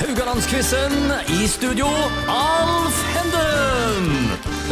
Haugalandsquizen. I studio, Alf Henden.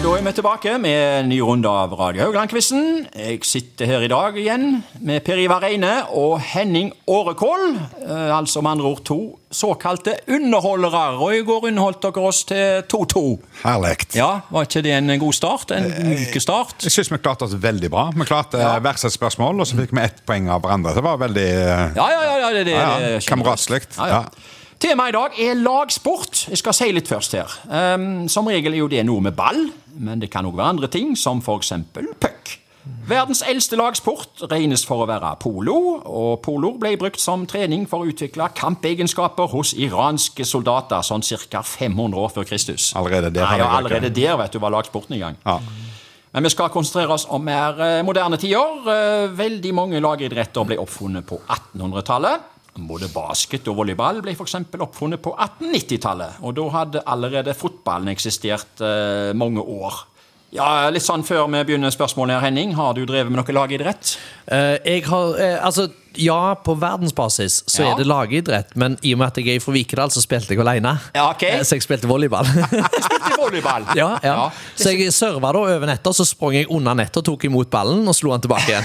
Da er vi tilbake med en ny runde av Radio Haugland-quizen. Jeg sitter her i dag igjen med Per Ivar Reine og Henning Årekål. Eh, altså med andre ord to såkalte underholdere. Og i går underholdt dere oss til 2-2. Herlig. Ja, var ikke det en god start? En myk start? Jeg syns vi klarte oss veldig bra. Vi klarte eh, hvert sitt spørsmål, og så fikk vi ett poeng av hverandre. Det var veldig eh, Ja, ja, ja. ja, det, det, Ja, ja. det er kjempebra. Kameratslikt. Ja, ja. Ja. Temaet i dag er lagsport. Jeg skal si litt først her. Ehm, som regel er jo det noe med ball, men det kan òg være andre ting, som f.eks. puck. Verdens eldste lagsport regnes for å være polo, og polo ble brukt som trening for å utvikle kampegenskaper hos iranske soldater sånn ca. 500 år før Kristus. Allerede der Nei, har ja, vi røket. allerede der vet du var lagsporten i gang. Ja. Men vi skal konsentrere oss om mer eh, moderne tider. Eh, Veldig mange lagidretter ble oppfunnet på 1800-tallet. Både basket og volleyball ble f.eks. oppfunnet på 1890-tallet. Og da hadde allerede fotballen eksistert eh, mange år. Ja, Litt sånn før vi begynner spørsmålet her, Henning. Har du drevet med noe lagidrett? Eh, jeg har, eh, altså, ja, på verdensbasis så Ja. er det lagidrett, men i og med at jeg er fra Vikedal, så spilte jeg alene. Ja, ok. Eh, Så jeg spilte volleyball. Jeg spilte volleyball. ja, ja. Ja. Så jeg serva da over nettet, og så sprang jeg unna nettet og tok imot ballen og slo han tilbake igjen.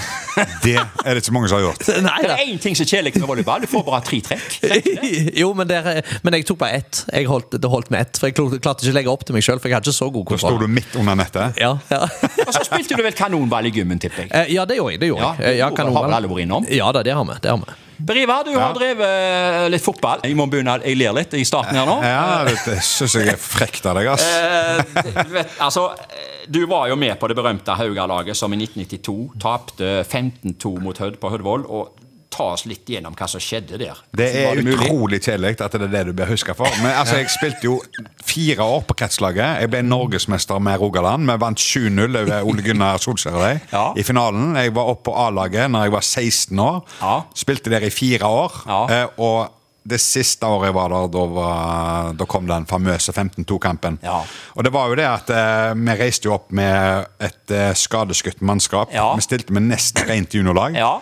Det er det ikke mange som har gjort. Nei Det da. er én ting som er kjedelig med volleyball. Du får bare tre trekk. Jo, men, der, men jeg tok bare ett. Jeg holdt, det holdt med ett, for jeg klo- klarte ikke å legge opp til meg sjøl, for jeg hadde ikke så god Da sto kontroll. du midt under nettet. Ja, ja. Og så spilte du vel kanonball i gymmen, tipper jeg. Eh, ja, det gjorde jeg. Det gjorde Ja, jeg. Eh, det gjorde- kanon, har vel vel? alle vært innom? Ja da, det har vi. Det har vi. Beriva, du har Ja. drevet eh, litt fotball. Jeg må begynne, jeg ler litt i starten her nå. Ja, det, det syns jeg er frekt av deg, ass. Eh, du vet, altså, eh, du var jo med på det berømte Haugalaget som i 1992 tapte 15-2 mot Hødd på Hødvold. Og ta oss litt gjennom hva som skjedde der. Det er Var mulig? utrolig kjedelig at det er det du blir huska for. Men altså, Jeg spilte jo fire år på kretslaget. Jeg ble norgesmester med Rogaland. Vi vant 7-0 over Ole Gunnar Solskjær og de Ja. i finalen. Jeg var oppe på A-laget når jeg var 16 år. Ja. Spilte der i fire år. Ja. Eh, Og det siste året jeg var der, da, var, da kom den famøse 15-2-kampen. Ja. Og det var jo det at eh, vi reiste jo opp med et eh, skadeskutt mannskap. Ja. Vi stilte med nesten rent juniorlag. Ja.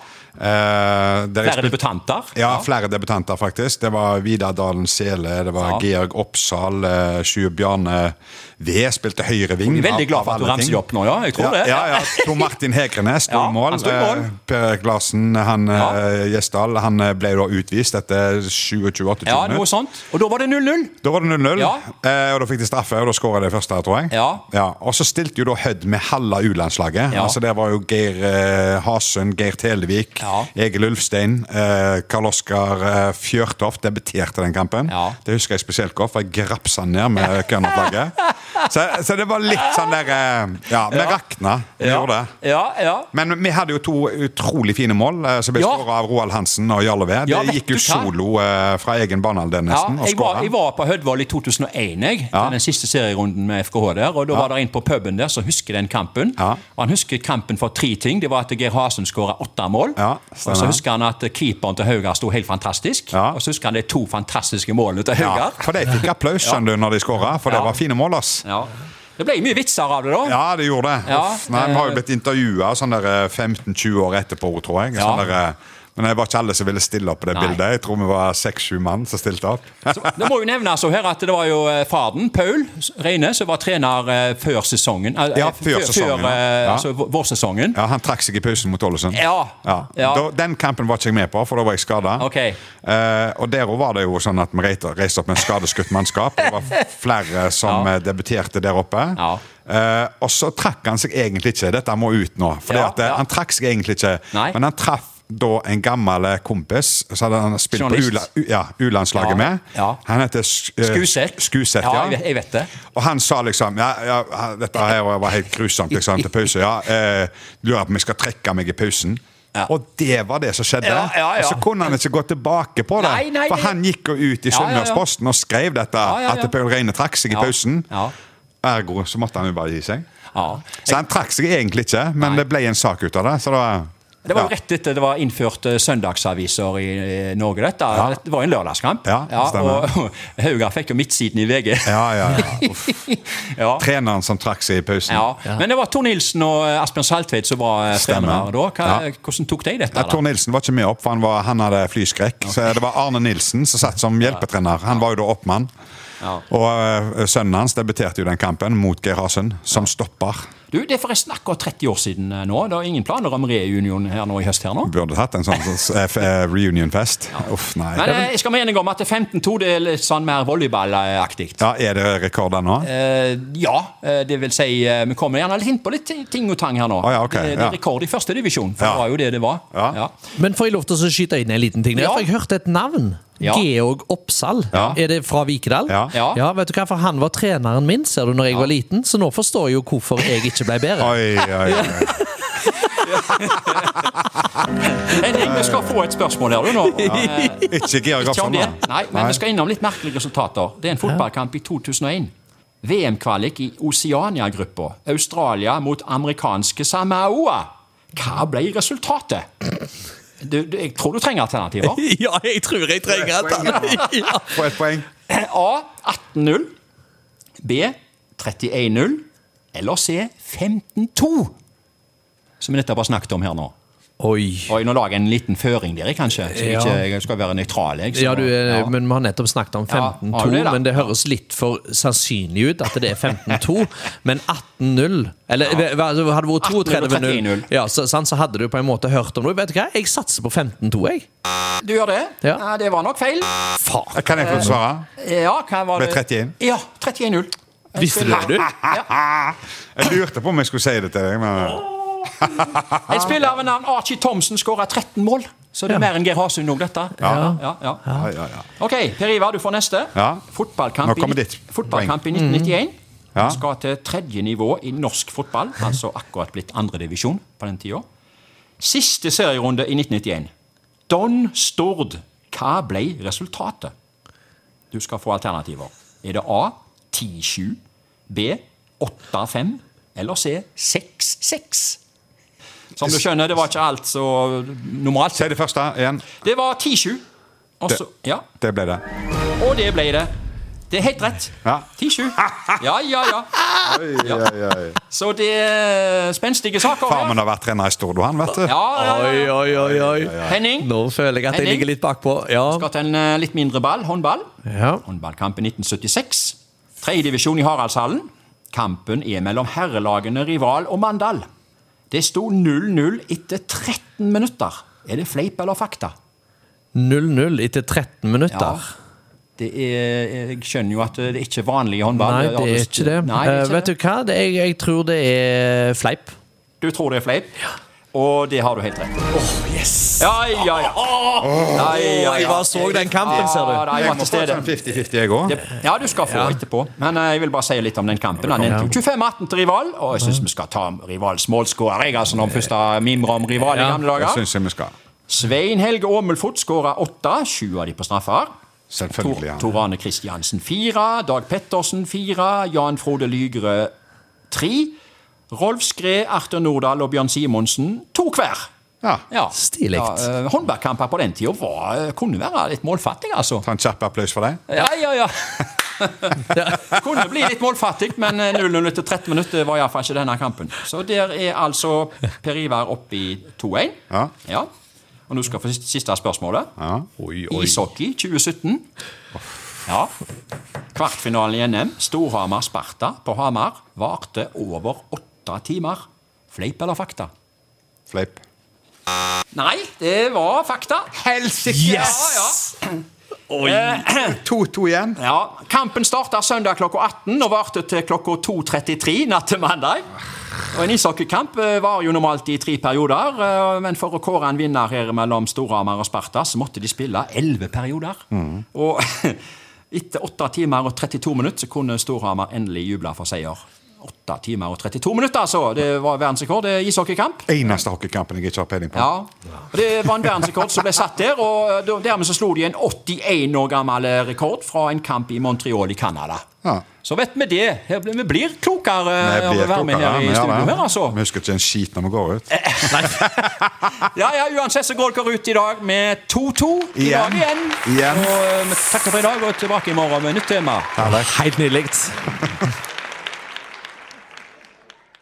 Eh, der Flere jeg spilte- debutanter. ja, flere debutanter, faktisk. Det var Vidar Dalen Sele, det var Ja. Georg Oppsal, eh, Sjur Bjarne V spilte høyre ving. Jeg er veldig glad av- for at av du alle ramser ting. det opp nå, ja. Jeg tror ja, det. ja, ja. Tor Martin Hegrenes sto Ja, i mål. han sto i mål. Eh, Per Erik Larsen, han Ja. eh, Gjesdal, han eh, ble da utvist etter 27-28 Ja, noe minutter. sånt. Og da var det 0-0. Da var det 0-0, Ja. eh, og da fikk de straffe, og da skåra de første, tror jeg. Ja. Og så stilte jo da Hødd med halve U-landslaget. Ja. Altså, der var jo Geir eh, Hasund, Geir Televik, Ja. Egil Ulfstein, eh, Karl Oskar eh, Fjørtoft debuterte den kampen. Ja. Det husker jeg spesielt godt, for jeg grapsa han ned med Kønner-flagget. så, så det var litt sånn der eh, Ja, vi rakna. Vi gjorde det. Ja, ja. Men vi hadde jo to utrolig fine mål eh, som ble Ja. skåret skåra av Roald Hansen og Jarle Ved. Ja, det vet gikk jo du hva? solo eh, fra egen banehalvdel, Ja, nesten. og jeg, var, skåret. jeg var på Hødvold i 2001, jeg, til Ja. den siste serierunden med FKH der. Og Da var det en på puben der som husker den kampen. Ja. Og Han husker kampen for tre ting. Det var at Geir Hasen skåra åtte mål. Ja, og stemmer. så husker han at keeperen til Haugar sto helt fantastisk. Ja. Og så husker han de to fantastiske målene til Haugar. For de fikk applaus skjønner du, når de skåra, for Ja. det var fine mål. ass Ja. Det ble mye vitser av det, da. Ja, det gjorde det. Ja, eh, Uff, nei, Vi har jo blitt intervjua sånn der, eh, 15-20 år etterpå, tror jeg. Ja. Sånn der, eh, men det var ikke alle som ville stille opp på det Nei. bildet. Jeg tror vi var seks-sju mann som stilte opp. Så, det må jo nevnes jo her at det var jo eh, faren, Paul Reine, som var trener eh, før sesongen. eh, Ja, eh, før sesongen, Før, eh, ja. Altså vå- vårsesongen. Ja, Han trakk seg i pausen mot Ålesund. Ja. Ja. Da, den kampen var ikke jeg med på, for da var jeg skada. Ok. Eh, og der òg var det jo sånn at vi reiste reiste opp med skadeskutt mannskap. Det var flere som Ja. eh, debuterte der oppe. Ja. Eh, og så trakk han seg egentlig ikke. Dette må ut nå. For Ja, ja. han trakk seg egentlig ikke. Nei. Men han traff da en gammel eh, kompis som hadde han spilt Journalist. på U-la- U- ja, U-landslaget Ja. med. Ja. Han heter Sk- eh, Skuseth. Skuseth, Ja, ja. jeg vet- jeg vet det. Og han sa liksom ja, ja, Dette her var helt grusomt liksom, til pause. Ja, eh, lurer på om jeg skal trekke meg i pausen. Ja. Og det var det som skjedde. Ja, ja, ja. Og så kunne han ikke gå tilbake på det. Nei, nei, for det- han gikk jo ut i Ja, ja, ja. Sunnmørsposten og skrev dette. Ja, ja, ja. At Paul Reine trakk seg i Ja. pausen. Ja. Ergo så måtte han jo bare gi seg. Ja. Så han trakk seg egentlig ikke, men det ble en sak ut av det. Så da Det var jo Ja. rett etter det var innført eh, søndagsaviser i eh, Norge, dette. Ja. Det var jo en lørdagskamp. Ja, stemmer. og Haugar fikk jo midtsiden i VG. Ja, ja, ja. Uff. Ja. Treneren som trakk seg i pausen. Ja. Men det var Tor Nilsen og eh, Asbjørn Saltvedt som var eh, Stemmer. trenere da. Hva, Ja. Hvordan tok de dette? Ja, da? Tor Nilsen var ikke med opp, for han, var, han hadde flyskrekk. Så det var Arne Nilsen som satt som hjelpetrener. Han var jo da oppmann. Ja. Og eh, sønnen hans debuterte jo den kampen mot Geir Hasen, som stopper. Du, Det er forresten akkurat 30 år siden eh, nå. Det er ingen planer om reunion her nå i høst her nå? Burde tatt en sånn, sånn eh, f- eh, reunion-fest. Uff, nei. Men eh, jeg skal mene om at 15-2 det er litt sånn mer volleyballaktig. Ja, Er det rekorder nå? Eh, ja, eh, det vil si eh, Vi kommer gjerne litt inn på litt ting- ting og tang her nå. Å Ah, ja, ok, det, det ja. er rekord i første divisjon, for Ja. det var jo det det var. Ja. Men får jeg lov til å skyte inn en liten ting? der? Ja. For jeg hørte et navn. Ja. Georg Oppsal. Ja. Er det fra Vikedal? Ja. Ja. vet du hva? For han var treneren min ser du, når jeg var liten, så nå forstår jeg jo hvorfor jeg ikke ble bedre. Oi, oi, oi. Henning, vi skal få et spørsmål her du nå. Eh, Ikke Georg Ikke om Oppsal, det. da. Nei, men vi skal innom litt merkelige resultater. Det er en fotballkamp i 2001. VM-kvalik i Oceania-gruppa. Australia mot amerikanske Samoa. Hva ble resultatet? Du, du, jeg tror du trenger alternativer. Ja, jeg tror jeg trenger et annet. Ja. Få et poeng. A 18-0. B 31-0. Eller C 15-2. Som vi nettopp har snakket om her nå. Oi. Oi, nå lager jeg en liten føring der, jeg, kanskje. Så jeg Ja. ikke, jeg skal være nøytral. Jeg, så- Ja, du, eh, Ja. men Vi har nettopp snakket om Ja, 15-2, har du det da? men det høres litt for sannsynlig ut at det er 15-2. Men 18-0 Eller hva- altså, hadde det vært 32-0, 18-0. ja, så, sant, så hadde du på en måte hørt om noe. Vet du hva? Jeg satser på 15-2, jeg. du gjør det? Ja. Nei, det var nok feil. Faen. Kan jeg få svare? Ja, hva var det? Ble 31? Ja, 31-0. Visste du det, du? Ah! Jeg lurte på om jeg skulle si det til deg. Men... En spiller ved navn Archie Thomsen skåra 13 mål. Så det er mer enn Geir Hasund òg, dette. Ja. Ja, ja. Ja, ja, ja. Ok, Per Ivar, du får neste. Ja. Nå Fotballkamp, i, kommer nitt- ditt Mm. fotballkamp i 1991. Ja. Han skal til tredje nivå i norsk fotball, altså akkurat blitt andredivisjon på den tida. Siste serierunde i 1991. Don Stord. Hva ble resultatet? Du skal få alternativer. Er det A 10-7, B 8-5 eller C 6-6? Som du skjønner, det var ikke alt så normalt. Si det første igjen. Det var 10-7. Og så- Ja. Det ble det. Og det ble det. Det er helt rett. Ja. 10-7. Ja, ja, ja. Så det er spenstige saker. Far her. min har vært trener i Stord, og han, vet du. Ja, ja, ja. Oi, oi, oi, oi. Henning Nå føler jeg at jeg Henning? ligger litt bakpå. Ja. skal til en eh, litt mindre ball, håndball. ja. Håndballkamp i 1976. Tredjedivisjon i Haraldshallen. Kampen er mellom herrelagene Rival og Mandal. Det sto 0-0 etter 13 minutter. Er det fleip eller fakta? 0-0 etter 13 Ja. minutter. Det er, jeg skjønner jo at det er ikke vanlig i håndball. Nei, det er ikke det. Nei, det er Eh, ikke Vet du hva? Det, jeg, jeg tror det er fleip. Du tror det er fleip? Og det har du helt rett i. Ja, ja, ja. ja, ja, jeg bare så den kampen, ser du. Ja, da, jeg Jeg var til må få stede. sånn 50-50, jeg òg. Det- Ja, du skal få etterpå. Men eh, jeg vil bare si litt om den kampen. Han endte jo 25-18 til rival, og jeg syns vi skal ta rivals målskårer. Jeg altså, når vi først har mimret om rival i Ja, gamle Det dager. syns jeg vi skal. Svein Helge Åmulfot skåra åtte, sju av de på straffer. Selvfølgelig, ja. Tor, Tor Arne Kristiansen fire, Dag Pettersen fire, Jan Frode Lygre tre. Rolf Skred, Arthur Nordahl og Bjørn Simonsen to hver. Ja. Ja. Stilig. Ja, eh, håndballkamper på den tida var, eh, kunne være litt målfattig, altså. Ta en kjapp applaus for deg. Ja, ja, ja. kunne bli litt målfattig, men eh, 0-0 etter 13 minutter var iallfall ikke denne kampen. Så der er altså Per Ivar oppe i 2-1. Ja. Og nå skal vi få siste- siste spørsmålet. Ja. Ishockey 2017. Ja. Kvartfinalen i NM, Storhamar-Sparta på Hamar, varte over åtte timer. Fleip eller fakta? Fleip. Nei, det var fakta. Helsike! Ja, ja. Eh, 2-2 igjen. Ja, Kampen starta søndag klokka 18 og varte til klokka 2.33 natt til mandag. Og En ishockeykamp eh, var jo normalt i tre perioder, eh, men for å kåre en vinner her mellom Storhamar og Sparta, så måtte de spille elleve perioder. Og etter 8 timer og 32 minutter så kunne Storhamar endelig juble for seier. 8 timer og 32 minutter, altså! Det var verdensrekord. Det er ishockeykamp. Eneste hockeykampen jeg ikke har peiling på. Ja. Og Det var en verdensrekord som ble satt der, eh, og dermed så slo de en 81 år gammel rekord fra en kamp i Montreal i Canada. Ja. Så vet vi det. Her blir, vi blir klokere Vi av å blir være med klokere, her i men ja, studio da. her, altså. Vi husker ikke en skit når vi går ut. Ja, ja, uansett så går dere ut i dag med 2-2 i Igjen. dag igjen. Igjen. Og eh, vi takker for i dag og er tilbake i morgen med nytt tema. Helt nydelig.